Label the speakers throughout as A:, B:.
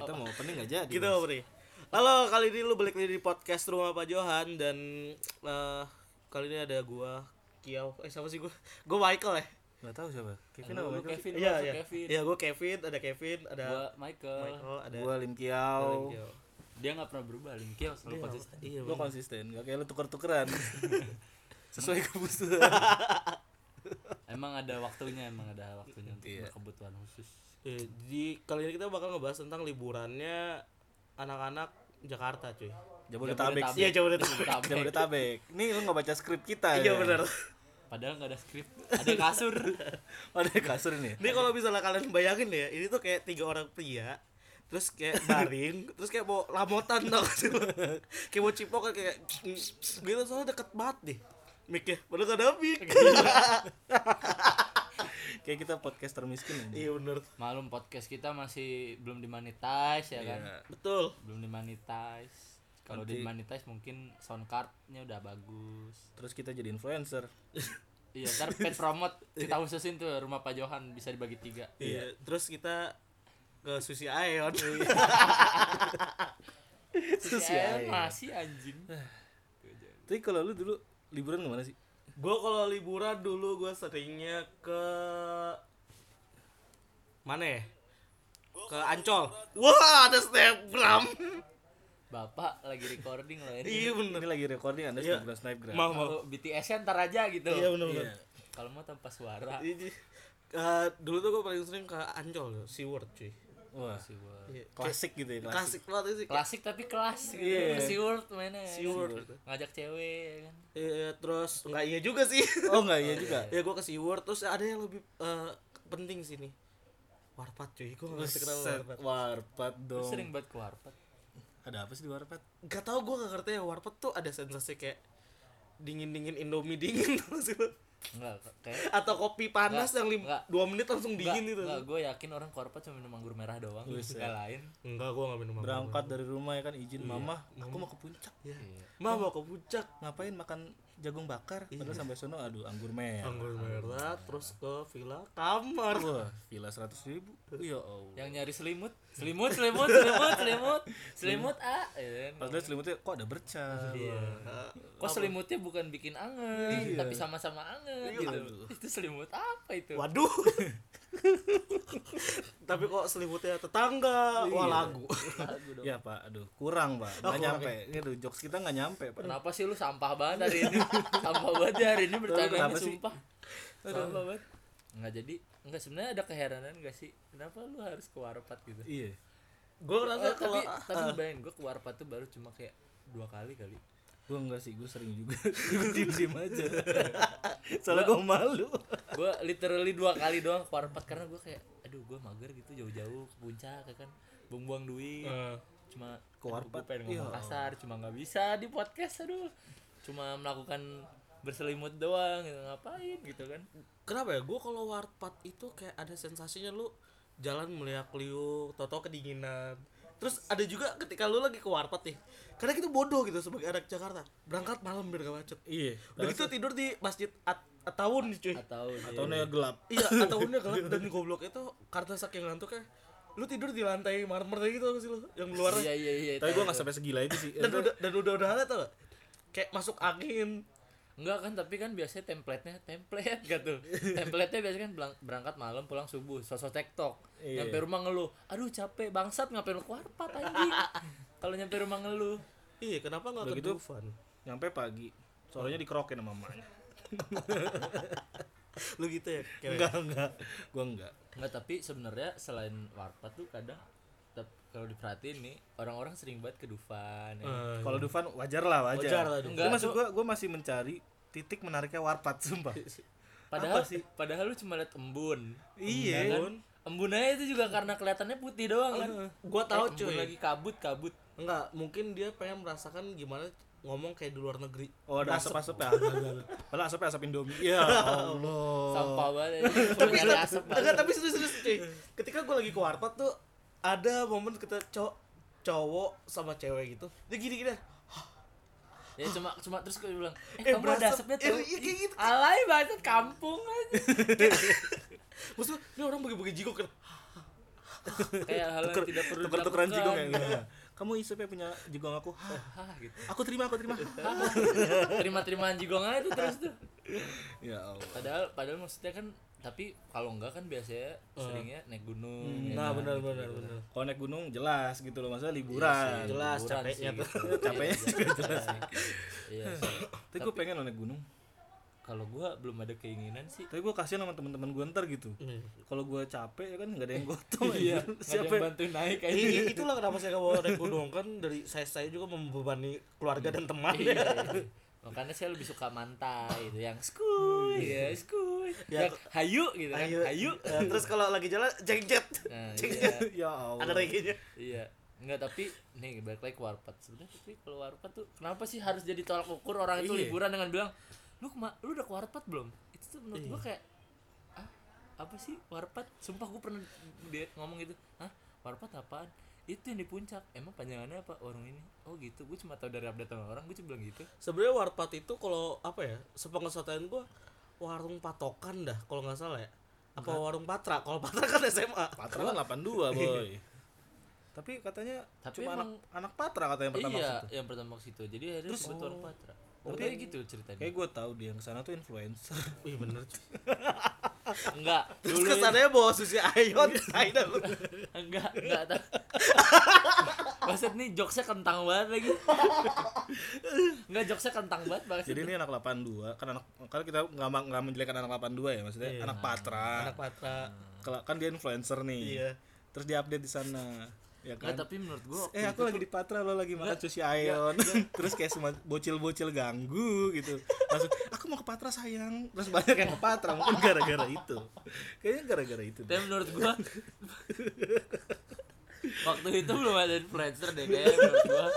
A: opening nggak jadi
B: gitu Bri halo kali ini lu balik lagi di podcast rumah Pak Johan dan eh, kali ini ada gua Kiau eh siapa sih gua gua Michael ya
A: nggak tahu siapa Kevin
C: Lu-
A: apa
C: lu
A: Michael
C: Kevin,
B: iya
C: lu
B: iya
C: Kevin.
B: iya gua Kevin ada Kevin ada
C: Gua Michael.
B: Michael ada
A: gue Lim Kiau
B: ada Kiau.
C: Dia nggak pernah berubah, Linkio selalu konsisten.
B: iya
A: lo
B: bener.
A: konsisten gak kayak lo tuker tukeran sesuai kebutuhan
C: Emang ada waktunya, emang ada waktunya untuk
A: Iya.
C: kebutuhan khusus.
B: Iya, jadi kali ini kita bakal ngebahas tentang liburannya anak-anak Jakarta cuy
A: Jabodetabek
C: Jabodetabek.
A: sih
B: iya coba deh
C: Tabek.
A: Jabodetabek nih lo nggak baca skrip kita
B: iya
A: ya?
B: benar
C: Padahal nggak ada skrip, ada kasur.
A: oh, ada kasur ini
B: ini kalau misalnya kalian bayangin ya ini tuh kayak tiga orang pria terus kayak baring terus kayak mau lamotan tau gak sih lu? kayak mau cipokan kayak gitu soalnya deket banget deh miknya padahal gak ada mic
A: kayak kita podcast termiskin aja
B: iya bener
C: Malum podcast kita masih belum dimonetize ya kan.
A: Iya.
B: betul
C: Belum dimonetize. Kalau
A: Nanti-
C: dimonetize mungkin sound card-nya udah bagus.
A: terus kita jadi influencer
C: Iya, ntar pet promote kita khususin tuh rumah Pak Johan bisa dibagi tiga.
B: iya terus kita ke sushi aeon Iya.
A: Terus
C: Si
A: ya, ya.
C: Ael Eh, masih anjing.
B: Eh.
A: tapi kalau lu dulu liburan kemana sih
B: gue kalau liburan dulu gue seringnya ke mana ya ke Ancol wah ada snapgram
C: Bapak lagi recording loh ini.
B: iya bener
A: ini lagi recording anda
B: Iya.
A: sebelum snipe grab
B: mau mau
C: Kalau BTS-nya ntar aja gitu.
B: iya bener bener
A: Iya.
C: Kalau mau tanpa suara.
B: Ini, eh, dulu tuh gue paling sering ke Ancol tuh, SeaWorld cuy
A: wah
C: Si World.
B: Iya.
A: klasik gitu ya klasik
B: klasik banget sih
C: Klasik tapi kelas gitu.
A: Iya.
C: Si World mainnya. ya kan?
B: SeaWorld
C: Ngajak cewek ya kan.
B: gitu. Iya, terus nggak iya juga sih
A: oh nggak iya juga
B: ya gue ke SeaWorld terus ada yang lebih eh, penting sih nih warpat cuy gue nggak ngerti kenapa
A: Buset,
B: warpat
A: warpat
C: Lu
A: dong
C: sering buat keluar Pat.
A: ada apa sih di warpat
B: gak tau gue gak ngerti ya warpet tuh ada sensasi kayak dingin dingin indomie dingin tau gak sih lo?
C: Enggak, kayak
B: atau kopi panas
C: Nggak,
B: yang lim-
C: nggak.
B: dua menit langsung
C: Enggak,
B: dingin gitu
C: enggak, gue yakin orang korpet cuma minum anggur merah doang
A: Buset.
C: Enggak lain
B: enggak gue gak minum
A: berangkat dari rumah ya kan izin mama aku mau ke puncak
C: Iya.
B: mah mau ke puncak
A: ngapain makan jagung bakar padahal sampai sono aduh anggur merah
B: anggur merah terus ke villa kamar
A: wah villa seratus ribu ya allah
C: Yang nyari selimut Selimut, selimut, selimut, selimut Selimut, ah Iya kan?
A: padahal selimutnya kok ada bercak
C: Iya. Kok selimutnya bukan bikin
A: Iya.
C: anget Tapi sama-sama anget gitu Itu selimut apa itu?
B: waduh tapi kok selimutnya tetangga wah lagu
A: ya pak aduh kurang pak nggak nyampe gitu jokes kita nggak nyampe pak
C: Kenapa sih lu sampah banget hari ini? sampah banget ya hari ini bercandanya
A: kenapa sih?
C: sumpah. Sampah banget. Enggak jadi, enggak sebenarnya ada keheranan enggak sih? Kenapa lu harus ke Warpat gitu?
A: iya
B: gue
C: Eh,
B: ngerasa
C: tapi
B: kalau
C: tapi ngebayangin gue ke Warpat tuh baru cuma kayak dua kali kali.
A: gue enggak sih gue sering juga gue diem diem aja soalnya gue malu
C: Gue literally dua kali doang ke Warpat karena gue kayak aduh gue mager gitu jauh-jauh ke puncak ya kan buang-buang duit.
B: eh,
C: Cuma
A: Ke
C: aduh,
A: Warpat,
C: gua pengen ngomong
A: iya.
C: kasar, cuma nggak bisa di podcast aduh. Cuma melakukan berselimut doang gitu ngapain gitu kan.
B: kenapa ya gue kalau warpat itu kayak ada sensasinya lu jalan melihat liuk tau kedinginan terus ada juga ketika lu lagi ke warpat nih karena kita bodoh gitu sebagai anak Jakarta berangkat malam biar gak macet
A: iya
B: udah gitu tidur di masjid at Atawun cuy
C: Atau
A: atau nih gelap
B: iya Atawunnya gelap dan goblok itu karena saking ngantuknya lu tidur di lantai marmer kayak gitu apa sih lu yang luarnya
C: Iya iya iya.
A: tapi
C: tahu.
A: gue nggak sampai segila itu sih
B: dan udah dan udah udah ada tau gak? kayak masuk angin
C: Enggak kan, tapi kan biasanya template-nya template gitu. template-nya biasanya kan belang- berangkat malam pulang subuh, sosok TikTok.
A: Iya.
C: Nyampe rumah ngeluh, "Aduh capek bangsat ngapain lu ke warpat anjing?" Kalau nyampe rumah ngeluh.
B: iya kenapa nggak
A: Udah
B: ke
A: gitu,
B: Dufan?
A: nyampe pagi sorenya dikerokin sama mamanya
B: lu gitu ya kayak
A: enggak enggak gue enggak
C: Enggak, tapi sebenarnya selain warpat tuh kadang tep- kalau diperhatiin nih, orang-orang sering banget ke Dufan. ya.
B: Eh,
A: Kalau Dufan wajar lah wajar.
B: Wajar lah, Dufan.
A: Gua
C: Enggak,
A: maksud
C: tuh-
A: gua gua masih mencari titik menariknya warpat sumpah. apa
C: Padahal
A: sih?
C: padahal lu cuma liat embun.
A: Iya.
C: Ya kan? Embun aja itu juga karena kelihatannya putih doang kan.
B: gua tahu
C: embun
B: cuy
C: lagi kabut-kabut.
B: Enggak, mungkin dia pengen merasakan gimana ngomong kayak di luar negeri.
A: Oh ada
B: Masuk.
A: asap-asap ya. Padahal asapnya asap Indomie. Ya Allah.
C: Sampah banget. Tapi asap banget.
B: Enggak, tapi serius-serius cuy. Ketika gue lagi ke warpat tuh ada momen kita cowok cowok sama cewek gitu. Dia gini-gini.
C: ya cuma cuma terus gue bilang eh,
B: Eh,
C: kamu ada
B: berasap.
C: asapnya
B: Eh,
C: tuh
B: iya, kayak gitu.
C: alay banget kampung aja
B: Maksudnya ini orang bagi-bagi jigok kan.
C: kayak hal yang tidak perlu
B: tuker-tukeran jigong ya
C: dilakukan.
B: gitu. kamu isepnya punya jigong aku Hah,
C: Hah, gitu.
B: aku terima aku terima
C: Nah, terima-terimaan jigong aja tuh terus tuh
B: ya Allah
C: padahal padahal maksudnya kan tapi kalau enggak kan biasanya seringnya naik gunung
B: Eh.
C: ya
B: nah
C: kan,
B: benar
C: gitu-gitu
B: benar
C: kan.
B: benar kalau naik gunung jelas gitu loh maksudnya
C: Iya
B: liburan
C: sih,
B: jelas
C: liburan
B: capeknya
C: sih,
B: tuh
C: gitu.
B: capeknya
C: Iya,
B: juga jelas
C: sih. Iya sih.
B: tapi gue pengen loh naik gunung
C: Kalau gua belum ada keinginan sih.
B: tapi gue kasihan sama teman-teman gue ntar gitu kalau gue capek ya kan nggak ada yang gotong
C: Iya,
B: anjir.
C: siapa yang bantu naik aja.
B: Iya, itulah kenapa saya nggak bawa naik gunung kan dari saya saya juga membebani keluarga dan teman
C: Iya,
B: ya.
C: iya. Makanya saya lebih suka mantai itu yang skuy, ya skuy.
B: Ya,
C: Yang hayu gitu kan.
B: Ayo,
C: Hayu.
B: Eh, terus kalau lagi jalan jengjet.
C: Nah,
B: Jengjet.
A: ya Allah
B: Ada reggae-nya.
C: Iya. Enggak tapi nih balik lagi ke warpat sebenarnya tapi kalau warpat tuh kenapa sih harus jadi tolak ukur orang itu
B: Iya.
C: liburan dengan bilang lu kema- lu udah ke warpat belum itu tuh menurut gua kayak ah apa sih warpat sumpah gua pernah dia ngomong gitu ah warpat apaan itu yang di puncak emang panjangannya apa warung ini oh gitu gua cuma tahu dari update orang gua cuma bilang gitu
B: Sebenarnya warpat itu kalau apa ya? Sepengesatan gua warung patokan dah kalau nggak salah ya. Apa warung patra? Kalau patra kan SMA.
A: Patra kan 82 boy tapi katanya
C: Tapi
A: cuma
C: emang-
A: anak anak Patra katanya yang pertama
C: iya
A: situ.
C: yang pertama ke situ jadi akhirnya terus warung patra tapi kayak gitu ceritanya
A: kayak gue tahu dia yang kesana tuh influencer
B: Wih bener.
C: enggak
B: Terus
C: dulu
B: kesannya bawa susi ayon, Aida.
C: enggak enggak tahu Maksud nih jokesnya kentang banget lagi Enggak jokesnya kentang banget banget
A: jadi ini anak 82 kan anak kan kita nggak ma- nggak menjelekan anak 82 ya maksudnya anak Patra
B: Iya. Anak patra.
A: Kela- kan dia influencer nih
B: Iya.
A: terus dia update di sana ya kan
C: Enggak tapi menurut gua
A: eh aku lagi di Patra lo lagi makan sushi ayon terus kayak semua bocil-bocil ganggu gitu langsung aku mau ke Patra sayang terus banyak yang ke Patra mungkin gara-gara itu kayaknya gara-gara itu deh.
C: Tapi menurut gua Waktu itu belum ada influencer deh kayaknya menurut gua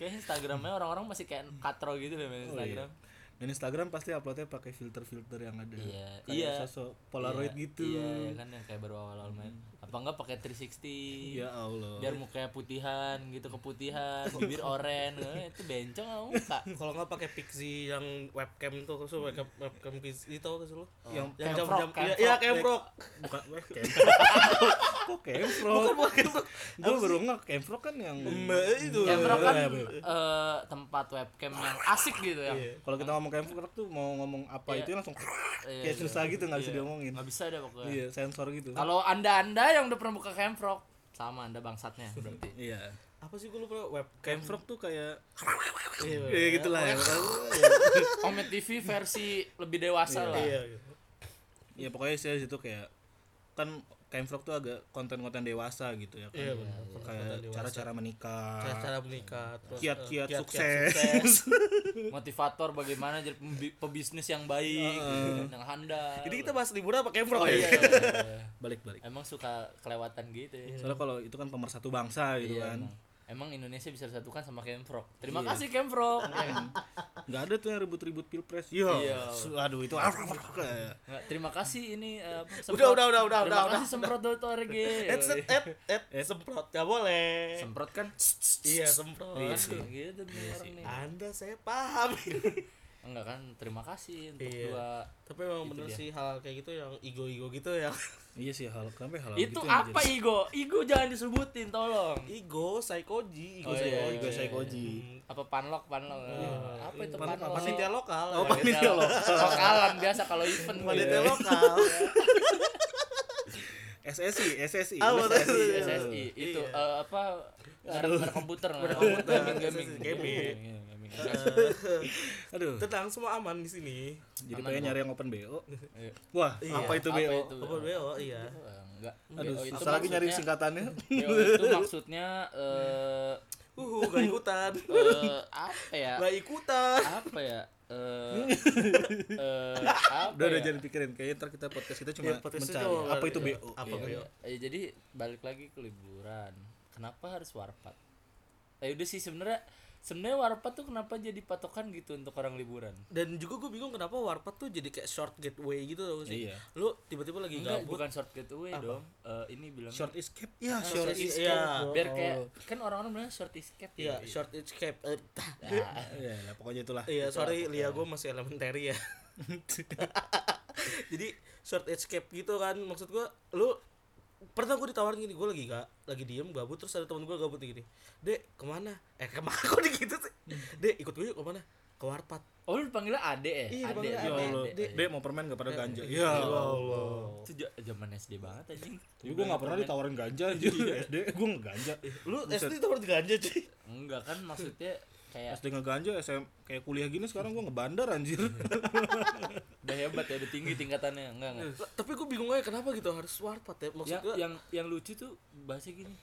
C: Kayaknya Instagramnya orang-orang masih kayak katro gitu deh main
A: Oh, iya.
C: Instagram
A: dan Instagram pasti uploadnya pakai filter-filter yang ada
C: Iya,
A: kayak
C: iya.
A: sosok Polaroid
C: Iya,
A: gitu
C: Iya ya kan yang kayak baru awal-awal main Apa enggak pakai 360
A: ya Allah
C: biar mukanya putihan gitu keputihan bibir oren eh, itu bencong sama muka
B: Hmm. Kalau nggak pakai Pixie yang webcam tuh, terus webcam webcam Pixie itu apa sih lu?
A: yang
B: Yang
C: Camfrog,
B: jam-jam iya iya
C: camfrog.
B: Oh. camfrog.
A: bukan weh kemprok kok kemprok
B: Bukan bukan camfrog.
A: gue baru nggak kemprok kan yang
B: Mbak Nah, itu.
C: Camfrog kan
A: Iya,
C: eh, tempat webcam yang asik gitu ya.
B: Iya.
A: kalau kita ngomong kemprok tuh mau ngomong apa
C: Iya.
A: itu langsung
C: Iya,
A: kayak susah gitu nggak bisa
C: Iya.
A: diomongin
C: Nggak bisa ada pokoknya.
A: iya sensor gitu
C: Kalau Anda-anda yang udah pernah buka camfrog sama Anda bangsatnya berarti.
A: iya
B: Apa sih gue lupa webcam
A: kemprok tuh kayak
B: Iya.
A: ya gitulah ya
C: Omet TV versi lebih dewasa lah.
B: Iya. gitu.
A: ya pokoknya saya situ kayak kan kemprok tuh agak konten-konten dewasa gitu ya
B: Iya
A: kan
B: benar.
A: kayak cara-cara menikah
B: Cara menikah terus
A: kiat-kiat
B: eh,
A: sukses,
C: Motivator bagaimana jadi pembi- pebisnis yang baik, gitu, yang handal.
B: Jadi kita bahas liburan apa camfrog
C: Iya,
B: ya?
C: iya.
A: balik-balik
C: Emang suka kelewatan gitu ya.
A: soalnya kalau itu kan pemersatu bangsa gitu
C: Iya,
A: kan
C: emang. Emang Indonesia bisa disatukan sama Camfrog. Terima
B: Iya.
C: kasih Camfrog.
A: nggak ada tuh yang ribut-ribut pilpres iya
C: Iya.
A: Su- aduh itu kayak
C: Nggak, terima kasih ini eh, apa,
B: Udah,
C: semprot.
B: udah, udah, udah,
C: Terima
B: udah,
C: kasih semprot.org.
B: Et set, et et et semprot nggak boleh.
C: semprot kan.
B: Iya semprot.
C: Iya gitu nih orang nih.
B: Anda saya paham.
C: Enggak kan, terima kasih untuk
B: Iya.
C: dua.
B: Tapi memang bener sih hal kayak gitu yang ego-ego gitu ya.
A: iya sih hal kenapa hal
C: Itu apa ya? Igo? Igo jangan disebutin tolong.
B: Ego, psikoji, ego
C: Oh, iya,
B: psikoji.
C: ego
A: psikoji.
B: Hmm.
C: Apa panlok panlok? Eh, Apa itu
A: Panlok
C: panlok?
B: Panitia lokal.
A: oh Iya. panitia lo
C: Lokalan biasa kalau event gitu.
B: Panitia lokal.
A: SSI SSI
B: Ah, betul.
C: SSI, SSI. itu
B: Iya.
C: eh, apa merek komputer, merek komputer, gaming,
B: SSI,
C: gaming,
B: gaming.
C: Iya, gaming.
A: aduh
B: Tenang semua aman di sini.
A: jadi
C: Aman,
A: pengen
C: Bang.
A: nyari yang open BO
C: Iya.
A: wah
B: Iya.
A: apa itu
C: Apa
A: BO
C: itu?
B: Apa BO iya.
C: Eh, Enggak.
A: aduh
C: BO itu
A: susah lagi nyari
C: maksudnya-
A: singkatannya
C: BO itu maksudnya eh
B: Uhu, gak ikutan.
C: eh, apa ya?
B: Gak ikutan.
C: Apa ya? Eh eh,
A: udah
C: apa
A: udah
C: ya? Iya,
A: jangan pikirin kayaknya ntar kita podcast kita
B: Ya,
A: cuma
B: podcast
A: mencari
B: itu
A: apa itu
B: iya.
A: BO
B: Apa
A: Iya.
B: BO?
C: Eh, jadi balik lagi ke liburan. Kenapa harus warpat? Eh udah sih sebenarnya sebenarnya warpat tuh kenapa jadi patokan gitu untuk orang liburan?
B: Dan juga gue bingung kenapa warpat tuh jadi kayak short gateway gitu tau gak sih.
A: Iya.
B: Lu tiba-tiba lagi
C: Enggak,
B: gabut.
C: bukan short getaway dong. Eh ini bilang
A: short escape ya
B: short
A: short
B: escape.
A: escape
B: Iya.
C: biar kayak kan orang-orang bilang short escape
B: Iya,
C: ya.
B: short escape. Eh, tah.
A: ya lah, pokoknya itulah
B: Iya, sorry Lia gue masih elementary ya. Jadi short escape gitu kan maksud gue lu pernah gue ditawarin gini gue lagi gak lagi diem gabut terus ada teman gue gabut nih gini dek kemana eh kemana kok gitu sih dek ikut gue yuk kemana ke warpat
C: Oh lu dipanggilnya Ade ya?
B: Iya,
C: Ade,
B: dipanggilnya
A: Ya
B: Ade. Iya. Oh.
A: Allah,
C: Ade, Ade.
A: Dek mau permen gak
C: Iya,
A: pada ganja? Ya
B: Gitu. Allah
C: Itu ja- zaman SD banget anjing.
A: Jadi gue gak Iya, pernah ditawarin ganja
C: Iya.
A: aja SD gue ngeganja
B: lu SD itu pernah ganja cuy
C: Enggak kan maksudnya kayak
A: SD ngeganja SM kayak kuliah gini sekarang gue ngebandar anjir
C: Iya udah hebat ya, udah tinggi tingkatannya. Enggak enggak.
B: tapi gue bingung aja kenapa gitu harus warpat ya maksud
C: yang,
B: gue
C: yang yang lucu tuh bahasa gini.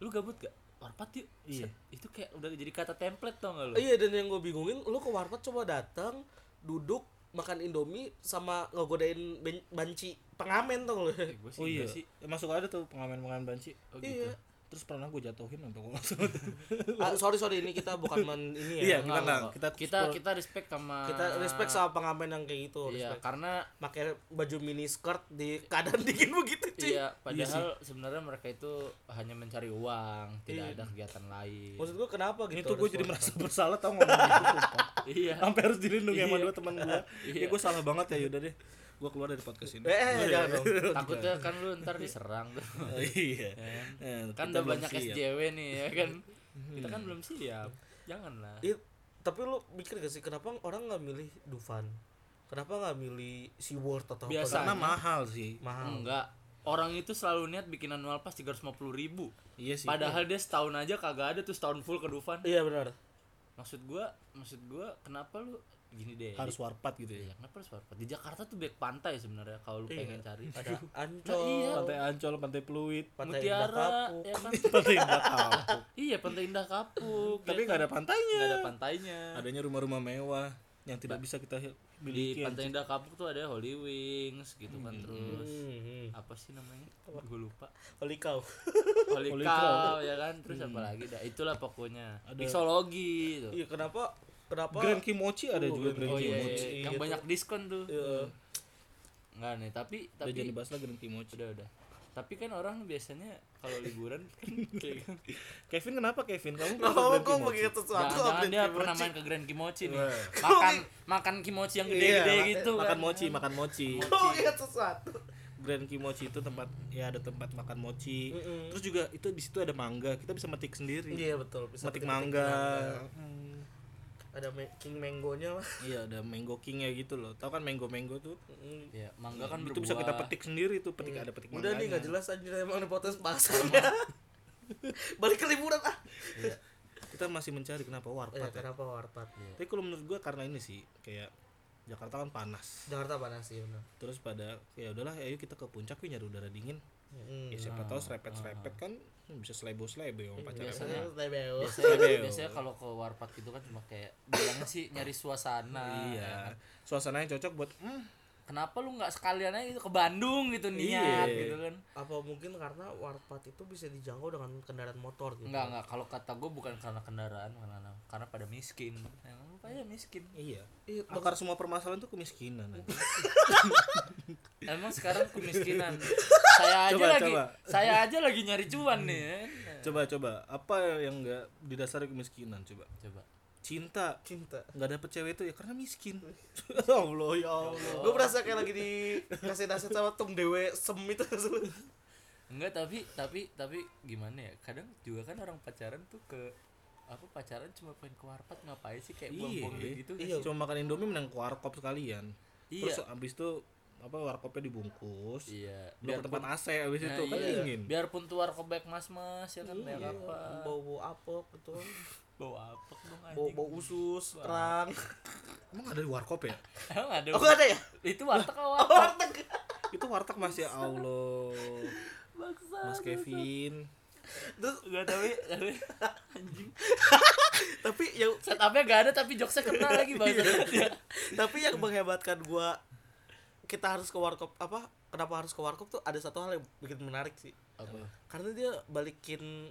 C: Lu gabut gak? Warpat yuk. Iya. Itu kayak udah jadi kata template tau gak lu?
B: iya dan yang gue bingungin lu ke warpat coba datang duduk makan indomie sama ngegodain ben- banci pengamen tau nggak lu
C: Gue Eh, sih
A: Oh iya
C: enggak sih.
A: Masuk ada tuh pengamen-pengamen banci
C: Oh gitu.
B: iya
A: Terus pernah gue jatuhin sampai gue langsung
B: Ah, sorry sorry ini kita bukan men ini
A: Iya kita
B: ya
C: Enggak,
A: nang
C: enggak.
A: kita
C: kita kita respect sama
B: kita respect sama pengamen yang kayak gitu
C: Iya,
B: respect.
C: karena
B: pakai baju mini skirt di keadaan dingin begitu cuy
C: Iya, padahal sebenarnya mereka itu hanya mencari uang, tidak ada kegiatan lain.
B: Iya. maksud gue kenapa gitu
A: ini tuh gue
B: harus
A: jadi
B: warpat?
A: merasa bersalah tau ngomong gitu sumpah.
C: iya.
A: Sampai harus dilindungi sama
C: Iya.
A: dua teman gue
C: Iya.
A: Ya gue salah banget ya yaudah deh Gue keluar dari podcast ini
B: eh, eh jangan dong
C: Takutnya kan lu ntar diserang tuh.
A: Oh, Iya Eh,
C: kan
A: kita
C: udah
A: belum
C: banyak
A: siap.
C: SJW nih ya kan. Kita kan belum siap. Janganlah.
B: Iya, tapi lu mikir gak sih kenapa orang nggak milih Dufan kenapa nggak milih SeaWorld atau apa? gitu?
C: Biasa.
A: Karena mahal sih
B: mahal
C: Enggak. Orang itu selalu niat bikin annual pass 350 ribu
A: Iya sih
C: Padahal dia setahun aja kagak ada tuh setahun full ke Dufan
B: iya benar
C: Maksud gua, maksud gua kenapa lu gini deh
A: harus warpat gitu ya
C: Iya, kenapa harus warpat? Di Jakarta tuh back pantai sebenarnya kalau lu
A: Iya.
C: pengen cari
B: ada
C: Nah, iya.
B: Ancol
A: Pantai Ancol, Pantai Pluit
B: Pantai Indah
C: Mutiara
B: Kapuk.
C: ya kan?
A: Pantai Indah Kapuk
C: Iya, Pantai Indah Kapuk.
A: Tapi
C: ya
A: nggak
C: kan?
A: ada pantainya
C: Nggak ada pantainya.
A: Adanya rumah-rumah mewah Yang tidak bisa kita
C: Di
A: miliki
C: Pantai Indah Kapuk tuh ada Holy Wings gitu kan terus
B: hmm.
C: apa sih namanya? Gue lupa.
B: Holy cow
C: Holy
A: Holy Hmm.
C: Cow ya kan? Terus apa lagi dah? Itulah pokoknya. Mixologi gitu.
B: iya kenapa kenapa
A: Grand Kimochi ada juga Grand
C: Oh iya, iya,
A: Kimochi
C: yang
B: gitu.
C: banyak diskon tuh.
B: Iya.
C: Enggak nih, tapi
A: Udah jangan
C: tapi
A: dibahas lagi Grand Kimochi
C: udah udah. Tapi kan orang biasanya kalau liburan kan kayak
A: Kevin kenapa Kevin? Kamu
B: Nggak
A: kenapa
B: Oh, mau
A: Grand
B: gue
A: Kimochi?
B: mengingat sesuatu
C: jangan-jangan
B: update
C: dia
B: Kimochi.
C: pernah main ke Grand Kimochi nih.
A: Wah.
C: Makan makan kimochi yang gede-gede
A: Iya,
C: gitu
A: makan
C: kan.
A: mochi, makan mochi.
B: Gua mengingat sesuatu
A: Grand Kimochi itu tempat ya ada tempat makan mochi.
B: Mm-mm.
A: Terus juga itu di situ ada mangga, kita bisa metik sendiri.
B: iya betul bisa
A: metik
B: petik-petik
A: mangga.
B: mangga.
A: Hmm.
B: ada ma- king mangonya lah
A: Iya, ada mango kingnya gitu loh. Tahu kan mango-mango tuh?
B: Mm.
C: Ya, mangga kan
A: itu bisa kita
C: berbuah.
A: petik sendiri tuh, petik ada petik
B: Udah nih
A: Mm-hmm. mangganya.
B: gak jelas anjir emang di podcast bahasannya. ya. Balik ke liburan ah.
A: Kita masih mencari kenapa warpat.
B: Ya,
A: ya.
B: kenapa warpat?
A: Tapi kalau menurut gua karena ini sih kayak Jakarta kan panas.
B: Jakarta panas sih benar.
A: Terus pada ya udahlah ayo kita ke puncak yuk nyari udara dingin.
B: Hmm.
A: Ya siapa tahu serepet-serepet kan bisa selebo-selebo yang pacaran.
B: Biasanya TBO.
A: Iya.
C: biasanya, biasanya kalau ke warpat gitu kan cuma kayak bilangnya sih nyari suasana ya kan.
A: Iya. Suasananya cocok buat mm,
C: kenapa lu nggak sekalian aja gitu ke Bandung gitu niat
A: Iya.
C: gitu kan
B: Apa mungkin karena warpat itu bisa dijangkau dengan kendaraan motor gitu.
C: Enggak enggak kalau kata gue bukan karena kendaraan bukan karena karena pada miskin emang lu pada miskin
A: Iya.
B: Iya,
A: Akar semua permasalahan tuh kemiskinan.
C: emang sekarang kemiskinan saya aja
A: Coba,
C: lagi
A: coba.
C: saya aja lagi nyari cuan nih ya kan.
A: coba coba, apa yang enggak didasari kemiskinan coba?
C: coba
A: Cinta.
B: cinta.
A: Enggak dapet cewek itu ya karena miskin. ya Allah ya Allah.
B: Gue berasa kayak lagi dikasih nasihat sama Tung Dewe Sem itu
C: enggak tapi tapi tapi gimana ya kadang juga kan orang pacaran tuh ke apa pacaran cuma pengen ke warpat ngapain sih kayak buang-buang duit gitu
A: Iya. Cuma makan Indomie menang ke warkop sekalian.
C: Iya.
A: Terus abis itu apa warkopnya dibungkus.
C: iya
A: Lu ke tempat AC abis itu
C: Nah,
A: kan
C: iya.
A: dingin. Iya.
C: Biarpun tuar kobek mas-mas ya kan kayak apa.
B: Iya. Bau-bau apok gitu. kan.
C: Bau apa dong anjing?
B: Bau-bau usus, kerang.
A: Emang ada di warkop ya?
C: Emang ada.
B: Oh, nggak ada ya?
C: Itu warteg awal.
A: itu warteg mas ya Allah. Mas Kevin.
B: Terus
C: Enggak tapi tapi anjing.
B: tapi yang
C: Setupnya gak ada tapi jokesnya kena lagi
A: Iya.
C: Iya. banget.
B: tapi yang menghebatkan gua kita harus ke warkop apa kenapa harus ke warkop tuh ada satu hal yang bikin menarik sih
C: Apa?
B: karena dia balikin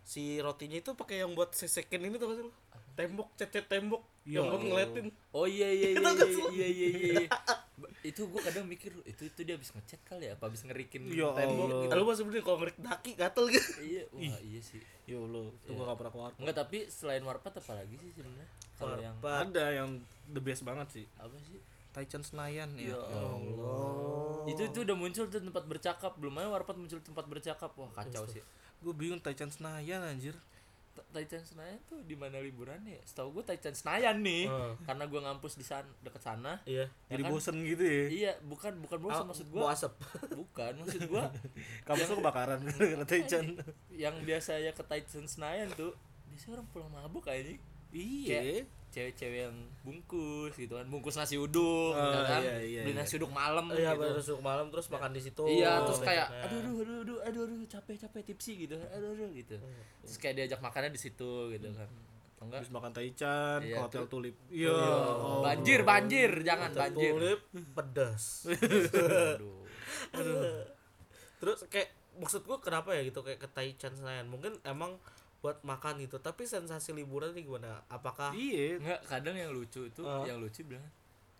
B: si rotinya itu pakai yang buat sesekin ini tuh kan sih lu? tembok cecet tembok yang buat ngeliatin
C: Iya. Oh iya iya iya
B: Itu kan
C: iya iya iya. iya. Ba- itu gue kadang mikir itu itu dia habis ngechat kali ya apa habis ngerikin
A: Ya
C: tembok
A: Allah.
C: gitu.
B: lalu pas sebenarnya kalau ngerik daki gatel gitu
C: iya wah iya sih
A: Ya Allah, itu
C: Iya.
A: gua gak pernah ke warkop.
C: enggak tapi selain warpat apa lagi sih sebenarnya kalau yang
B: Warpat.
A: Ada yang the best banget sih.
C: apa sih
A: Taichan Senayan ya.
C: Ya
A: Allah.
C: Itu itu udah muncul tuh tempat bercakap, belum aja warpat muncul tempat bercakap. Wah, kacau sih.
A: Gue bingung Taichan Senayan anjir.
C: Ta- Taichan Senayan tuh di mana liburannya? ya? Setahu gue Taichan Senayan nih,
B: Hmm.
C: karena gue ngampus di sana dekat sana.
B: Iya.
A: Jadi
C: kan?
A: bosen gitu ya.
C: Iya, bukan bukan bosan maksud
B: Bau
C: gua. Hmm,
B: asap.
C: Bukan maksud gua
A: Kampus lu kebakaran
C: Iya.
A: gara-gara Taichan.
C: yang biasa ya ke Titan Senayan tuh biasanya orang pulang mabuk kayaknya
A: Iya.
C: cewek-cewek yang bungkus gitu kan bungkus nasi uduk gitu kan
A: iya, iya,
C: beli
A: iya.
C: nasi uduk malam
B: Iya, Oh,
C: gitu
B: baru masuk malam terus makan di situ. Nah.
C: iya terus kayak
B: besoknya.
C: aduh aduh aduh aduh aduh aduh capek capek tipsi gitu aduh aduh gitu terus kayak diajak makannya di situ gitu kan atau enggak
A: Habis makan Taichan ke
C: Iya,
A: hotel
C: tuh.
A: Tulip. Iya.
C: Oh, banjir banjir jangan banjir
B: Tulip pedas.
C: aduh
B: terus kayak maksud gua kenapa ya gitu kayak ke Taichan Senayan. Mungkin emang buat makan gitu, tapi sensasi liburan ini gimana? Apakah
A: Iya.
C: enggak kadang yang lucu itu
B: Ah.
C: yang lucu bilang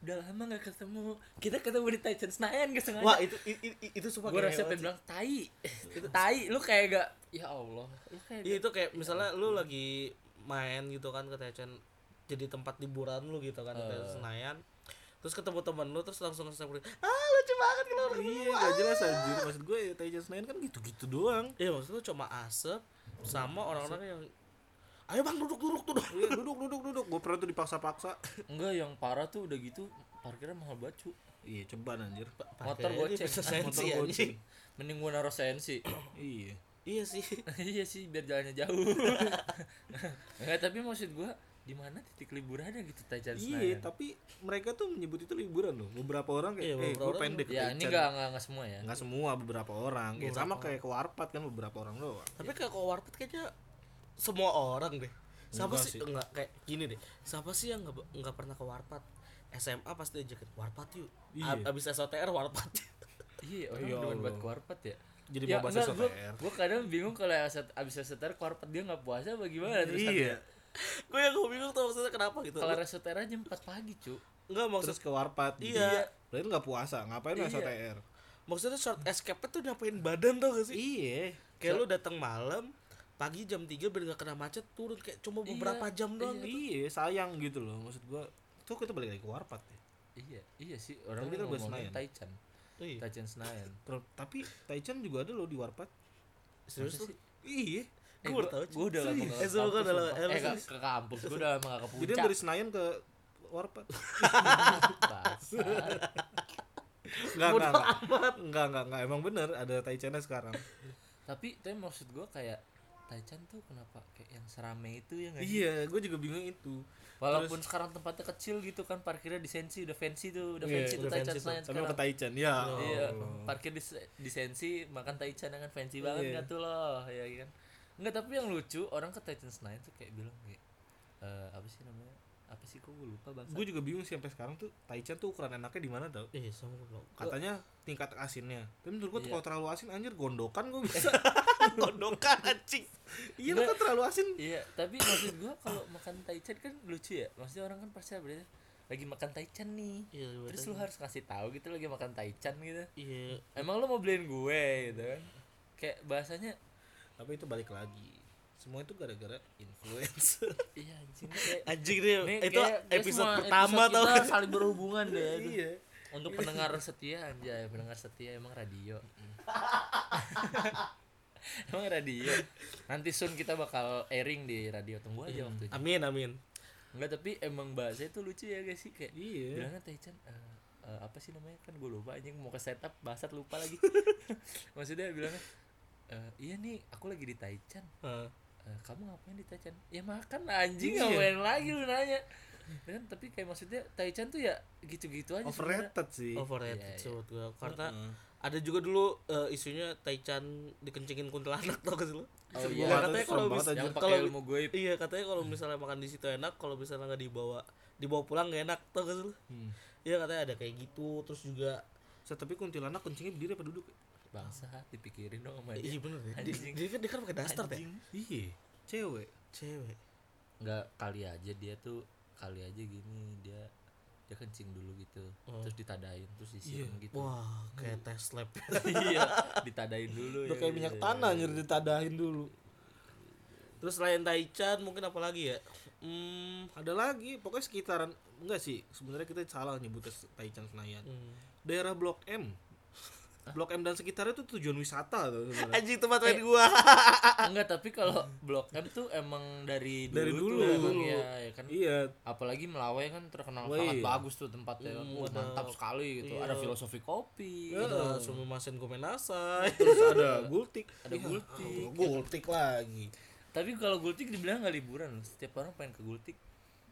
C: udah lama gak ketemu kita ketemu di gitu Titan Senayan gak sengaja
B: Wah, itu i- i- i- itu semua
C: gue
B: kayak
C: rasa
B: lewat
C: pengen bilang tai itu tai lu kayak gak ya Allah lu kayak
B: Iya
C: gak-
B: itu kayak misalnya lu lagi main gitu kan ke Taichan jadi tempat liburan lu gitu kan ke
C: Eh.
B: Taichan Senayan terus ketemu temen lu terus langsung langsung ah lucu banget keluar
A: Iya, gak jelas anjir. Maksud gue Taichan Senayan kan gitu-gitu doang.
B: iya maksud lu cuma asap sama orang-orang yang ayo bang duduk duduk duduk
A: Iya, duduk duduk duduk. Gue pernah tuh dipaksa-paksa.
C: enggak yang parah tuh udah gitu parkirnya mahal banget cu
A: Iya, coba anjir.
C: motor
B: Parkirnya
C: goceng
B: bisa
C: Ah,
B: sensi,
C: motor
B: anjing.
C: goceng mending gua naruh sensi
A: Iya.
B: iya sih
C: iya sih biar jalannya jauh enggak tapi maksud gua di mana titik liburannya gitu Taichan
A: Iya,
C: Senayan
A: tapi mereka tuh menyebut itu liburan loh. Beberapa orang kayak,
B: Iya,
A: eh,
B: beberapa
A: gue
B: orang
A: pendek.
C: ya ini enggak enggak enggak semua ya
A: Nggak semua, beberapa orang. Ya, sama kayak ke warpat kan beberapa orang doang.
B: tapi kayak ke warpet kayaknya semua orang deh siapa
A: Enggak
B: sih
A: sih.
B: enggak kayak gini deh siapa sih yang nggak nggak pernah ke warpet SMA pasti ajakin warpat yuk
A: Iya.
B: Ab- abis SOTR warpat
C: iya orang
A: Ya
C: demen buat
A: Allah.
C: kuarpet ya
A: Jadi
C: ya,
A: mau bahas
C: enggak, gua,
A: SOTR.
C: gua kadang bingung kalau set- abis SOTR kuarpet dia nggak puasa bagaimana terus
A: Iya.
B: gue yang gue bingung tuh maksudnya kenapa gitu
C: kalau SOTR aja 4 pagi cu
B: enggak maksud
A: Terus ke warpat gitu.
B: Iya.
A: Berarti nggak puasa, ngapain lu
B: Iya.
A: SOTR?
B: maksudnya short escape tuh nyapain badan tau gak sih
A: Iya.
B: kayak lu datang malam pagi jam 3 biar gak kena macet turun kayak cuma beberapa jam doang gitu.
A: Iya, sayang gitu loh maksud gua. Tuh kita balik lagi ke warpat ya.
C: Iya, iya sih. Orang
A: Tapi
C: itu
A: kan buat
C: ngomongin
A: Senayan.
C: Taichan.
B: Iya.
C: Taichan Senayan.
A: Ter- Tapi Taichan juga ada loh di warpat.
B: serius lu
A: Iya.
C: Eh,
B: Gua baru tahu, Cuk.
C: gua udah lama
B: Serius. Eh,
C: nggak
B: sumpah, gua udah
C: kampus,
B: lama- eh,
C: sumpah.
B: lu
C: Eh, nggak
B: serius?
C: ke kampus. Gua udah lama nggak ke
A: Jadi
C: puncak.
A: dari Senayan ke warpat.
C: Basah.
A: Enggak, enggak, enggak. Enggak, enggak, enggak. Emang bener ada Taichannya sekarang.
C: Tapi tapi maksud gua kayak Taichan tuh kenapa kayak yang serame itu ya nggak sih?
A: iya, gua juga bingung itu.
C: Walaupun sekarang tempatnya kecil gitu kan parkirnya di Sensi udah fancy tuh, udah fancy tuh
B: udah
C: Taichan
B: fancy tuh.
C: Senayan
A: Tapi mau
C: sekarang.
A: ke Taichan, ya.
C: Iya,
A: Allah.
C: parkir di, di Sensi makan Taichan kan fancy banget
A: Iya.
C: nggak tuh loh, ya kan. Enggak, tapi yang lucu orang ke Taichan Senayan tuh kayak bilang kayak eh apa sih namanya? Apa sih kok gue lupa bangsa?
A: Gue juga bingung sih sampai sekarang tuh Taichan tuh ukuran enaknya di mana tau?
B: iya sama gue bilang
A: Katanya tingkat asinnya. Tapi menurut gua tuh
C: Iya.
A: kalau terlalu asin anjir gondokan gua bisa.
B: kondokan anjing
A: iya, lu kan terlalu asin.
C: Iya, tapi maksud gua kalau makan taichan kan lucu ya. Maksudnya orang kan pasti berarti lagi makan taichan nih.
B: Iya, lagi makan
C: Terus lu harus ngasih tahu gitu lagi makan taichan gitu.
B: iya
C: Emang lu mau beliin gue gitu kan. Kayak bahasanya
A: Tapi itu balik lagi. Semua itu gara-gara influencer.
C: iya anjing kayak
B: anjing deh
C: Nih,
B: itu
C: kayak- kayak
B: episode
C: semua
B: pertama
C: episode
B: tau
C: kita saling berhubungan deh. aduh.
A: iya.
C: Untuk pendengar setia anjay, pendengar setia emang radio. emang radio. Nanti soon kita bakal airing di radio tunggu
B: Iya.
C: aja waktunya.
B: amin amin
C: Enggak, tapi emang bahasanya tuh lucu ya guys sih kayak
A: Iya.
C: bilangnya Taichan eh, eh, apa sih namanya kan gue lupa anjing mau ke setup bahasa lupa lagi maksudnya bilangnya eh, iya nih aku lagi di Taichan
B: Heeh.
C: Eh, kamu ngapain di Taichan ya makan anjing
B: Iya.
C: ngapain lagi lu nanya Ya kan tapi kayak maksudnya Taichan tuh ya gitu-gitu aja sebenarnya.
A: Overrated sih.
B: overrated sih
C: Iya, iya.
B: menurut gue karena ada juga dulu eh, isunya Taichan dikencingin kuntilanak tau gak sih lo
C: Oh,
A: Serem
C: iya.
A: banget, serem
B: katanya kalau
A: banget,
B: bisa
A: anjir.
C: yang
B: kalau-
C: pakai ilmu gue
B: Iya katanya kalau misalnya makan di situ enak, kalau misalnya nggak dibawa dibawa pulang gak enak, tau gak sih lu?
A: Hmm.
B: Iya katanya ada kayak gitu, terus juga
A: Set, tapi kuntilanak kencingnya berdiri apa duduk?
C: bangsa dipikirin dong sama
B: iya
C: dia
B: bener ya. Di-
C: Anjing.
B: Dia kan dia kan pakai daster ya.
A: Iya, cewek.
B: Cewek.
C: nggak kali aja dia tuh kali aja gini dia dia kencing dulu gitu
A: Oh.
C: terus ditadain terus disiram
A: Iya.
C: gitu
B: Wah kayak test lab.
C: iya ditadain dulu iya,
A: Udah kayak iya. minyak tanah anjir ditadahin dulu.
B: terus selain Taichan mungkin apa lagi ya? Hmm.
A: ada lagi pokoknya sekitaran enggak sih sebenarnya kita salah nyebutnya Taichan Senayan
B: hmm.
A: daerah Blok M Blok M dan sekitarnya itu tujuan wisata tuh sebenarnya.
B: Anjing tempat main gua.
C: Enggak, tapi kalau Blok M tuh emang dari dulu
A: Dari dulu.
C: tuh emang ya, ya kan.
A: iya
C: Apalagi Melawai kan terkenal
A: Wah,
C: sangat
A: iya.
C: bagus tuh tempatnya.
A: Mm,
B: Hmm,
C: Wah,
B: ada-
C: mantap sekali gitu.
B: iya.
C: Ada filosofi kopi. gitu.
B: Ada semua masen komenasai.
A: terus ada Gultik
C: Ada
A: Iya,
C: Gultik.
A: Gultik lagi
C: Tapi kalau Gultik dibilang nggak liburan loh. Setiap orang pengen ke Gultik.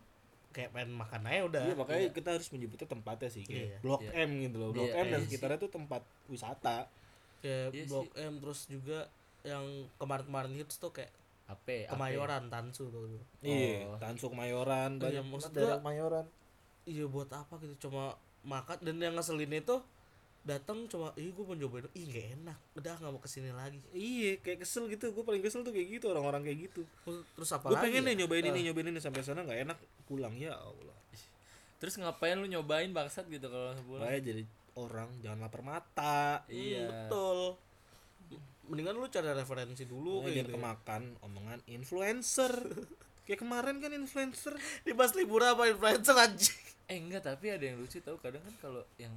B: Kayak pengen makan aja udah.
A: Iya makanya kita harus menyebutnya tempatnya sih kayak
B: Iya.
A: Blok
C: Iya.
A: M gitu loh. Blok
C: Iya,
A: M dan
C: iya
A: sekitarnya tuh tempat wisata.
B: Kayak
C: Iya
B: Blok M terus juga yang kemarin-kemarin hits tuh kayak
C: Apa? apa?
B: Kemayoran Tansu tuh.
A: Iya, Tansu Kemayoran,
B: Iya,
A: banyak
B: maksud
A: banget daerah
B: gua-
A: Kemayoran.
B: Iya buat apa gitu cuma makan dan yang ngeselin itu datang cuma ih gua mau nyobain ih gak enak udah nggak mau kesini lagi
A: Iya, kayak kesel gitu. Gue paling kesel tuh kayak gitu orang-orang kayak gitu.
B: Terus- terus apa
A: Gue
B: lagi
A: pengen
B: ya?
A: nih nyobain ini, nyobain ini sampai sana nggak enak, pulang ya Allah.
C: Terus ngapain lu nyobain bangsat gitu kalau sebulan?
A: Makanya jadi orang jangan lapar mata. Gitu.
C: Iya.
B: Hmm, betul mendingan lu cari referensi
A: Lu
B: dulu kayak
A: jangan
B: gitu
A: kemakan omongan influencer. kayak kemarin kan influencer.
B: dibahas libur apa influencer anjing
C: Eh enggak, tapi ada yang lucu tau kadang kan kalau yang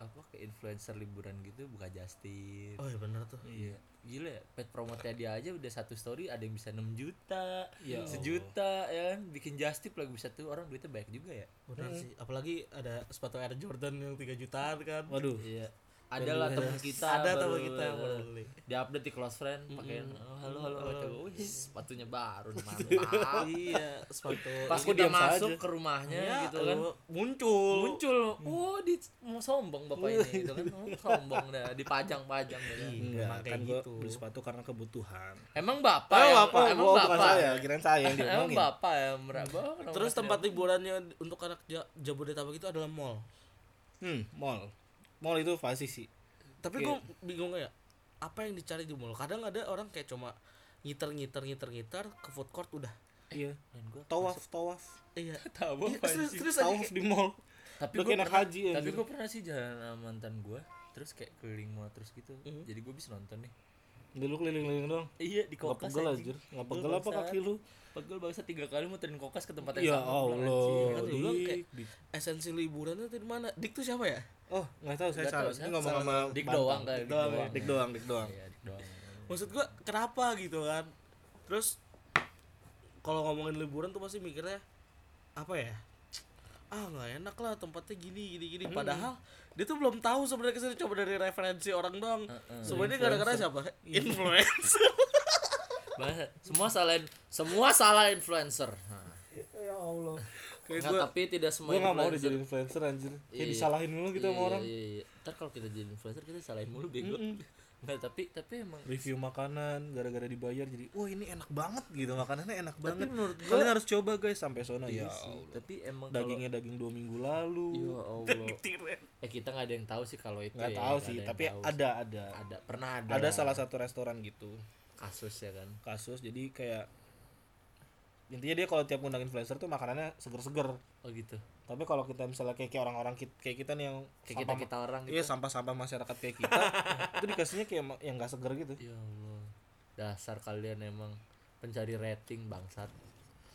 C: apa ke influencer liburan gitu buka Justin.
B: oh iya bener tuh
C: Iya. Gila ya, pet promote dia aja udah satu story ada yang bisa 6 juta,
A: Ya
C: sejuta ya kan bikin Justip lagi bisa tuh orang duitnya banyak juga ya.
B: bener sih apalagi ada sepatu Air Jordan yang 3 jutaan kan
A: Waduh.
C: Iya. Ada lah teman kita.
B: ada
C: baru-
B: teman kita yang baru ya. beli
C: Di update di close friend pakai oh, halo halo kata gua, "Wih, sepatunya baru nih, mantap.
B: iya sepatu
C: Pas
A: Ini
C: kita
A: diam saja.
C: masuk ke rumahnya
B: Ya,
C: gitu kan.
B: lu muncul
C: muncul oh di mau sombong bapak ini gitu kan oh, sombong dah dipajang-pajang gitu kan.
A: Enggak,
B: Emang kayak
A: kan gue
B: gitu. ya?
A: beli sepatu karena kebutuhan.
C: emang bapak
A: Oh,
C: yang-
A: bapak,
C: emang
A: gua bukan
C: bapak
A: saya, kirain saya yang
C: emang
A: diomongin.
C: bapak ya meraba
B: terus tempat liburannya untuk anak Ja- Jabodetabek itu adalah mall
A: Hmm, mall. Mall itu pasti
B: Eh,
A: sih.
B: tapi gue bingung ya apa yang dicari di mall kadang ada orang kayak cuma ngiter ngiter ngiter ngiter ke food court udah
A: Iya.
C: dan gua
A: Tawaf, tawaf.
B: iya
C: tahu
B: Iya,
C: apa
B: serius,
C: sih.
B: serius aja
A: Tawaf
B: kayak-
A: di mall.
C: tapi
A: Udah
C: gua
A: kayak anak
C: pernah-
A: haji ya, gitu.
C: tapi
A: anjir.
C: gua pernah sih jalan sama mantan gua terus kayak keliling mall terus gitu
A: Hmm.
C: jadi gua bisa nonton nih
A: Dulu keliling-keliling doang.
C: iya di
A: Nggak
C: kokas
A: pegel
C: anjing.
A: anjir. Nggak
C: Pegel
A: pegel apa
C: bangsat.
A: kaki lu?
C: pegel bangsa tiga kali muterin kokas ke tempat yang
A: Ya
C: sama pulang, anjing.
A: Allah.
B: Kan dulu
A: Dik,
B: kayak-
A: Dik.
B: esensi liburan itu di mana dik tuh siapa ya
A: Oh, nggak tahu saya
C: Nggak tahu,
A: salah.
C: saya
A: Ini ngomong
C: salah.
A: sama
C: Dik
A: Bantang.
C: doang kayak
A: Dik doang. ya. Dik
C: Dik
A: doang, dik doang.
C: Iya, dik doang.
B: maksud gua kenapa gitu kan terus kalau ngomongin liburan tuh pasti mikirnya apa ya ah nggak enak lah tempatnya gini gini gini padahal dia tuh belum tahu sebenarnya kesini coba dari referensi orang doang semuanya gara-gara siapa influencer
C: Bahasa- semua salah semua salah influencer Nah.
A: Ya Allah. Kayak
C: Nggak,
A: gue
C: tapi tidak semua
A: gue nggak mau deh
C: influencer.
A: jadi influencer anjir. Kayak
C: Iya.
A: disalahin mulu gitu sama
C: Iya,
A: orang.
C: iya, iya. ntar kalau kita jadi influencer kita salahin mulu bego nggak tapi tapi emang
A: Review makanan gara-gara dibayar jadi, wah ini enak banget gitu makanannya enak banget.
C: menurut gua-
A: Kalian harus coba guys sampai sono ya.
C: iya sih.
A: Allah.
C: tapi emang kalau
A: Dagingnya daging dua minggu lalu.
C: ya Allah
B: Tiren.
C: eh kita nggak ada yang tahu sih kalau itu
A: nggak
C: ya,
A: tahu
C: nggak
A: sih
C: ada yang
A: tapi
C: tahu.
A: ada ada
C: ada pernah ada
A: ada
C: lah
A: salah satu restoran gitu
C: kasus ya kan
A: kasus jadi kayak intinya dia kalau tiap ngundang influencer tuh makanannya seger-seger
C: oh gitu
A: tapi kalau kita misalnya kayak kayak orang-orang kit- kayak kita nih yang
C: kayak kita
A: sampah-
C: kita orang gitu
A: iya sampah-sampah masyarakat kayak kita itu dikasihnya kayak ma- yang gak seger gitu
C: ya Allah dasar kalian emang pencari rating bangsat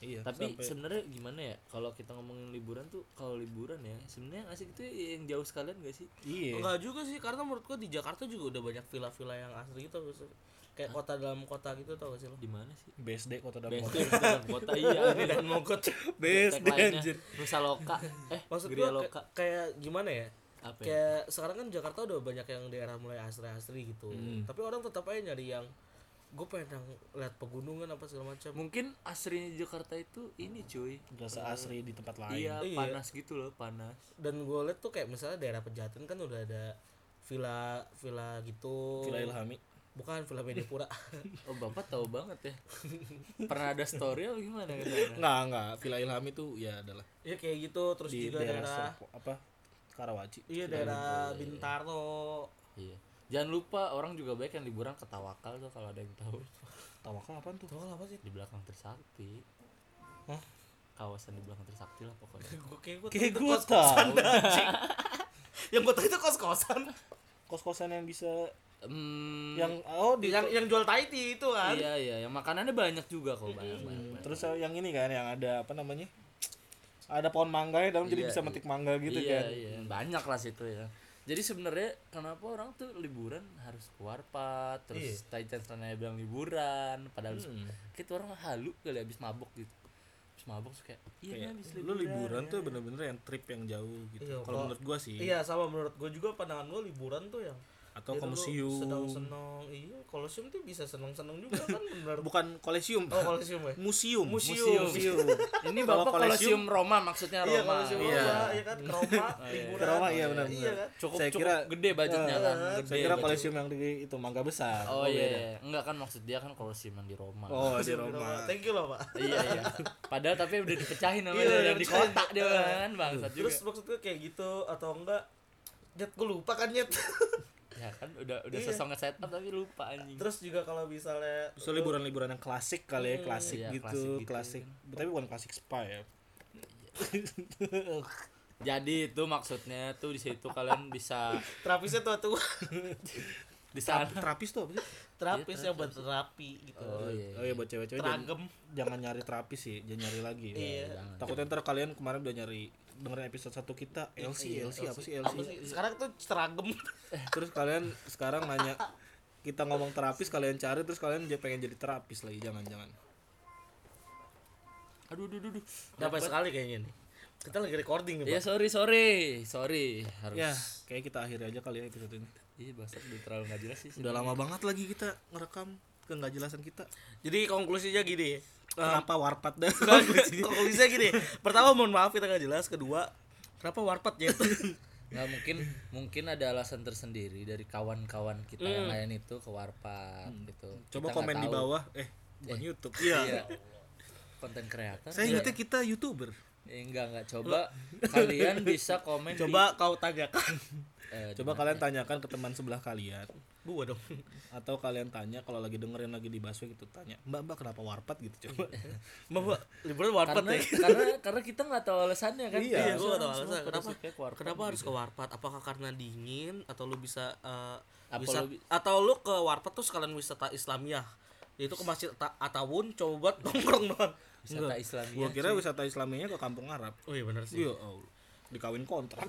A: iya
C: tapi
A: sampai-
C: sebenarnya gimana ya kalau kita ngomongin liburan tuh kalau liburan ya sebenarnya yang asik itu yang jauh sekalian gak sih
A: iya
B: Enggak juga sih, karena menurut gua di Jakarta juga udah banyak villa-villa yang asli gitu Kayak kota dalam kota gitu tau gak sih lo?
C: di mana sih
A: BSD kota dalam
C: Best
A: kota
C: Day dalam kota iya ini dan mogot
A: BSD
C: tagline-nya
A: anjir
C: Nusa Loka eh
B: Maksud gua
C: Gria Loka
B: kayak- kayak gimana ya?
C: apa ya?
B: Kayak sekarang kan Jakarta udah banyak yang daerah mulai asri-asri gitu Tapi orang tetap aja nyari yang Gue pengen yang lihat pegunungan apa segala macam
C: mungkin asrinya Jakarta itu ini cuy
A: gak seasri di tempat lain
C: iya
B: Iya.
C: panas gitu loh panas
B: Dan gue liat tuh kayak misalnya daerah Pejaten kan udah ada villa villa gitu
A: Villa Ilhami
B: bukan villa Medipura
C: oh bapak tahu banget ya pernah ada story apa gimana katanya
A: enggak enggak Villa Ilhami tuh ya adalah
B: ya kayak gitu terus
A: di
B: juga
A: daerah,
B: daerah
A: Serpo- apa Karawaci
B: iya daerah Bintaro
C: iya jangan lupa orang juga baik yang liburan ke Tawakal tuh kalau ada yang tahu
A: Tawakal apaan tuh
B: Tau apa sih?
C: di belakang Trisakti
A: Hah?
C: kawasan di belakang Trisakti lah pokoknya
B: Gue kayak gue
A: kayak gue tahu
B: Yang gue tahu itu kos-kosan.
A: kos-kosan yang bisa
C: Em,
A: yang oh di
B: yang yang jual Thai tea itu kan
C: iya iya yang makanannya banyak juga kok banyak banyak, banyak.
A: terus yang ini kan yang ada apa namanya ada pohon mangga ya dalam jadi
C: Iya,
A: bisa
C: iya.
A: metik mangga gitu
C: iya,
A: kan
C: iya. banyak lah situ ya jadi sebenarnya kenapa orang tuh liburan harus ke warpat terus
A: Iya.
C: tai Taitan bilang liburan padahal
A: Hmm.
C: kita orang halu kali abis mabok gitu abis mabok suka
A: Kayak,
C: iya abis
A: lu
C: liburan
A: liburan tuh bener-bener yang trip yang jauh gitu
B: Iya,
A: kalau
B: kok-
A: menurut gua sih
B: iya sama menurut gue juga pandangan gue liburan tuh yang
A: atau ke
B: jadi lu
A: museum
B: senang-senang iya kolosium tuh bisa senang-senang juga kan bener
A: bukan kolesium
B: oh kolosium ya
A: museum
B: Museum.
C: ini
A: Kalau
C: bapak
A: kolosium-
C: kolosium Roma maksudnya
B: iya
C: Roma
B: kolosium
A: iya.
B: iya. iya kan ke Roma liburan
A: Ke Roma, iya, benar,
B: iya
A: benar.
B: kan
C: cukup
A: Saya
C: cukup
A: kira- Eh,
C: gede budgetnya kan gede
A: saya kira
C: budget.
A: kolesium yang di itu mangga besar
C: oh
A: beda.
C: iya enggak kan maksud dia kan kolosium yang di Roma
A: oh di
B: Kolosium
A: Roma
B: thank you lah pak
C: iya iya padahal tapi udah dipecahin sama
B: Iya,
C: dia
B: udah
C: udah di
B: dipecahin.
C: kotak dia kan bangsat juga
B: terus maksud gue kayak gitu atau enggak Nyet, gue lupa kan Nyet
C: ya kan udah udah
B: Iya.
C: sesongket setup tapi lupa anjing
B: Terus juga kalau misalnya
A: Bisa liburan-liburan yang klasik kali ya, klasik
C: Iya,
A: gitu, klasik.
C: klasik
A: Tapi bukan klasik spa ya.
C: jadi itu maksudnya tuh di situ kalian bisa
B: terapisnya tua-tua
C: di sana
A: Terapis tuh apa sih?
B: terapis yang buat terapi gitu
C: oh iya
A: Oh iya buat cewek-cewek jangan,
B: teragem
A: jangan nyari terapis sih, jangan nyari lagi.
B: Iya.
C: Jangan.
A: Takutnya ntar kalian kemarin udah nyari dengerin episode satu kita LC,
C: Iya,
A: LC, apa sih LC?
B: Apa sih? sekarang tuh teragem
A: Terus kalian sekarang nanya kita ngomong terapis kalian cari terus kalian j- pengen jadi terapis lagi jangan-jangan.
C: aduh aduh aduh, aduh
B: dapat sekali kayaknya nih kita lagi recording nih
C: ya sorry sorry sorry harus
A: Ya, kayak kita akhiri aja kali ya episode ini.
C: iya bahasa udah terlalu nggak jelas sih
A: Udah lama banget lagi kita ngerekam ke nggak jelasan kita.
B: jadi konklusinya gini
A: Kenapa warpat dan
B: konklusinya gini pertama mohon maaf kita nggak jelas kedua kenapa warpat ya
C: nggak mungkin mungkin ada alasan tersendiri dari kawan-kawan kita yang lain itu ke warpat gitu
A: Hmm. Coba
C: Kita nggak
A: komen di
C: tahu.
A: bawah, eh bukan YouTube.
C: iya konten kreator
A: Saya ingetnya kita youtuber.
C: eh, enggak enggak coba kalian bisa komen
B: coba kau tanyakan
C: di, eh, di
A: Coba kalian tanyakan ke teman sebelah kalian
B: gua dong
A: atau kalian tanya kalau lagi dengerin lagi di busway gitu tanya mbak mbak kenapa warpat gitu coba
B: Mbak, liburan warpat
C: karena
B: ya
C: karena karena kita nggak tahu alasannya kan
A: Iya.
B: Iya, gue gak
C: Semua-
B: tau
C: semua
B: alasan
C: pada
B: kenapa
C: suka ke warpat
B: kenapa
C: gitu.
B: harus ke warpat? Apakah karena dingin atau lu bisa eh,
C: Apa
B: wisat-
C: lu bi-
B: atau lu ke warpat tuh sekalian wisata Islamiah? Yaitu ke Masjid Ata- Atawun coba buat nongkrong doang.
C: wisata Islamiah
A: gua kira wisata islaminya ke kampung arab
B: Oh iya benar sih.
A: iya Allah dikawin kontrak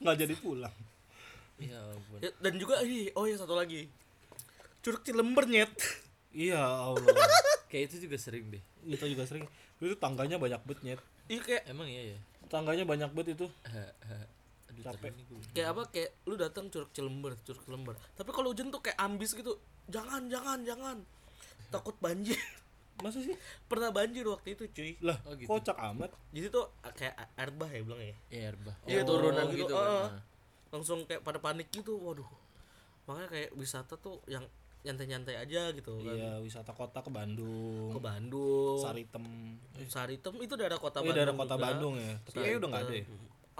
A: nggak jadi pulang
C: ya ampun
B: Ya, dan juga ih, oh iya satu lagi. Curug Cilember nyet.
A: iya allah
C: kayak itu juga sering deh
A: kita juga sering itu tangganya banyak bet nyet
B: Iya kayak
C: emang iya ya
A: tangganya banyak bet itu
C: aduh
A: Capek.
C: tadi gue
B: kayak apa kayak lu datang Curug Cilember, Curug Cilember. Tapi kalau hujan tuh kayak ambis gitu. Jangan, jangan, jangan. Takut banjir.
A: masa sih
B: Pernah banjir waktu itu, cuy.
A: lah
C: Oh, gitu.
A: kocak amat
B: Jadi tuh kayak air bah ya bilang ya.
C: ya erbah
B: Iya, turunan gitu,
C: kan.
B: ah.
C: Nah.
B: langsung kayak pada panik gitu waduh makanya kayak wisata tuh yang nyantai-nyantai aja gitu kan
A: iya wisata kota ke Bandung
B: ke Bandung
A: Saritem
B: Saritem itu Iya, daerah kota
A: ini
B: Bandung Oh,
A: daerah kota
B: juga.
A: Bandung ya tapi kayaknya udah nggak ada ya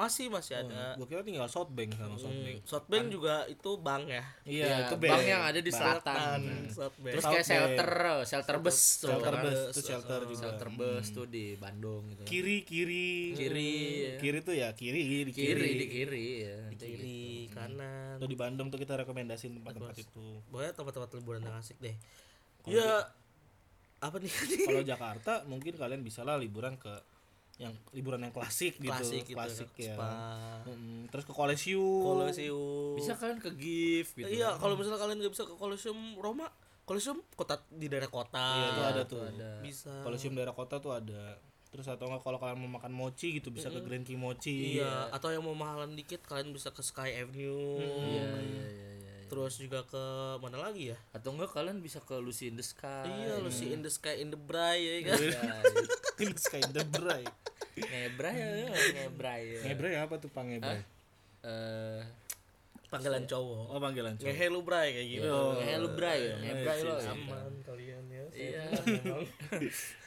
B: masih masih ada
A: gua kira tinggal South Bank sama South
B: hmm.
A: Bank
B: Southbank juga itu bank ya
A: Iya,
C: Iya,
A: itu
C: bank
A: bank.
C: yang ada di
A: Bank.
C: selatan.
B: Southbank
C: Terus
B: terus
C: kayak
A: South Bank.
C: shelter, shelter bus tuh.
A: shelter
C: kan.
A: bus, itu shelter
C: Oh,
A: juga.
C: Shelter bus tuh di Bandung gitu. kan.
A: Kiri, kiri,
C: Kiri, ya.
A: kiri tuh ya kiri, di kiri.
C: kiri, di kiri ya.
B: kiri kanan
A: Gitu. Tuh di Bandung tuh kita rekomendasiin tempat-tempat itu.
B: pokoknya tempat-tempat liburan yang asik deh ya
A: gitu.
B: apa nih
A: Kalau Jakarta mungkin kalian bisa lah liburan ke yang liburan yang klasik gitu,
B: klasik gitu
A: klasik ya.
B: spa
A: Mm, terus ke Kolesium.
B: Colosseum
C: gitu. Bisa kalian ke gift gitu.
A: kan?
B: Iya, kalau misalnya kalian nggak bisa ke Colosseum Roma, Colosseum kota di daerah kota.
A: Iya, itu ada tuh.
B: Bisa.
A: Kolesium daerah kota tuh ada. Terus atau enggak kalau kalian mau makan mochi gitu bisa ke Grand Key Mochi.
B: Iya, atau yang mau mahalan dikit kalian bisa ke Sky Avenue.
A: Hmm,
C: Iya, iya, iya, iya.
B: Terus juga ke mana lagi ya?
C: Atau enggak kalian bisa ke Lucy in the Sky. Iya,
B: Iya, Lucy in the Sky in the Bray ya kan.
A: Ini Sky the Bray.
C: Ngebra ya, ngebra ya.
A: Ngebray apa tuh Pang Ngebray?
C: Eh,
B: Panggilan cowok.
A: Oh panggilan cowok. Iya.
B: Ngehe lu Bray kayak gitu.
A: Oh.
C: eh, lu bra ya, ngebra lo. ya.
B: Aman kalian ya.
C: Iya.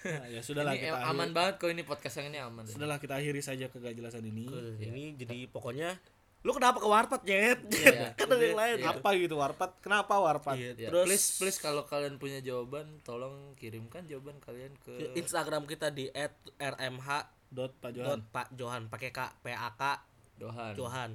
A: Nah, ya sudahlah
C: Ini
A: kita akhiri.
C: aman banget kok ini podcast yang ini aman. ya.
A: Sudahlah kita akhiri saja kegajelasan ini. Ya.
B: Tuh, Ini jadi pokoknya lu kenapa ke warpat, Jet?
C: Iya.
B: kan ada yang lain.
A: Apa gitu warpat? Kenapa warpat?
B: Iya,
C: Ya,
B: Terus
C: please please kalau kalian punya jawaban tolong kirimkan jawaban kalian
B: ke
C: ke
B: eh, Instagram kita di @rmh
A: Dot Pak Johan.
B: dot Pak Johan pakai K P A K
C: Dohan.
B: Johan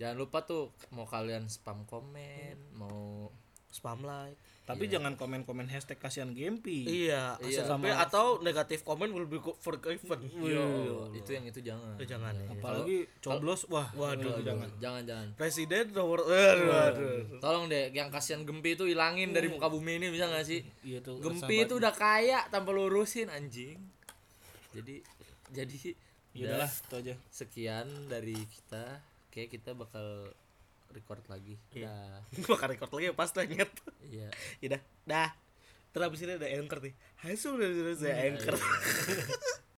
C: jangan lupa tuh mau kalian spam komen mau
B: spam like
A: Tapi jangan komen-komen hashtag kasihan Gempi.
B: iya,
C: Iya.
B: SMP atau negatif komen will be co- forgiven
C: yo itu yang itu jangan
B: Itu jangan ya.
A: Apalagi coblos, wah,
B: Waduh,
A: itu jangan.
C: jangan jangan
B: presiden nomor waduh, waduh.
C: tolong deh yang kasihan gempi itu hilangin dari muka bumi ini bisa nggak sih
A: Iya tuh.
C: gempi itu udah kaya tanpa lu urusin anjing jadi jadi
A: ya udahlah, itu aja.
C: sekian dari kita oke kita bakal record lagi dah
B: bakal record lagi ya, pas tanyet Iya,
C: iya Iya.
B: ya dah dah terus abis ini ada anchor nih hasil udah selesai anchor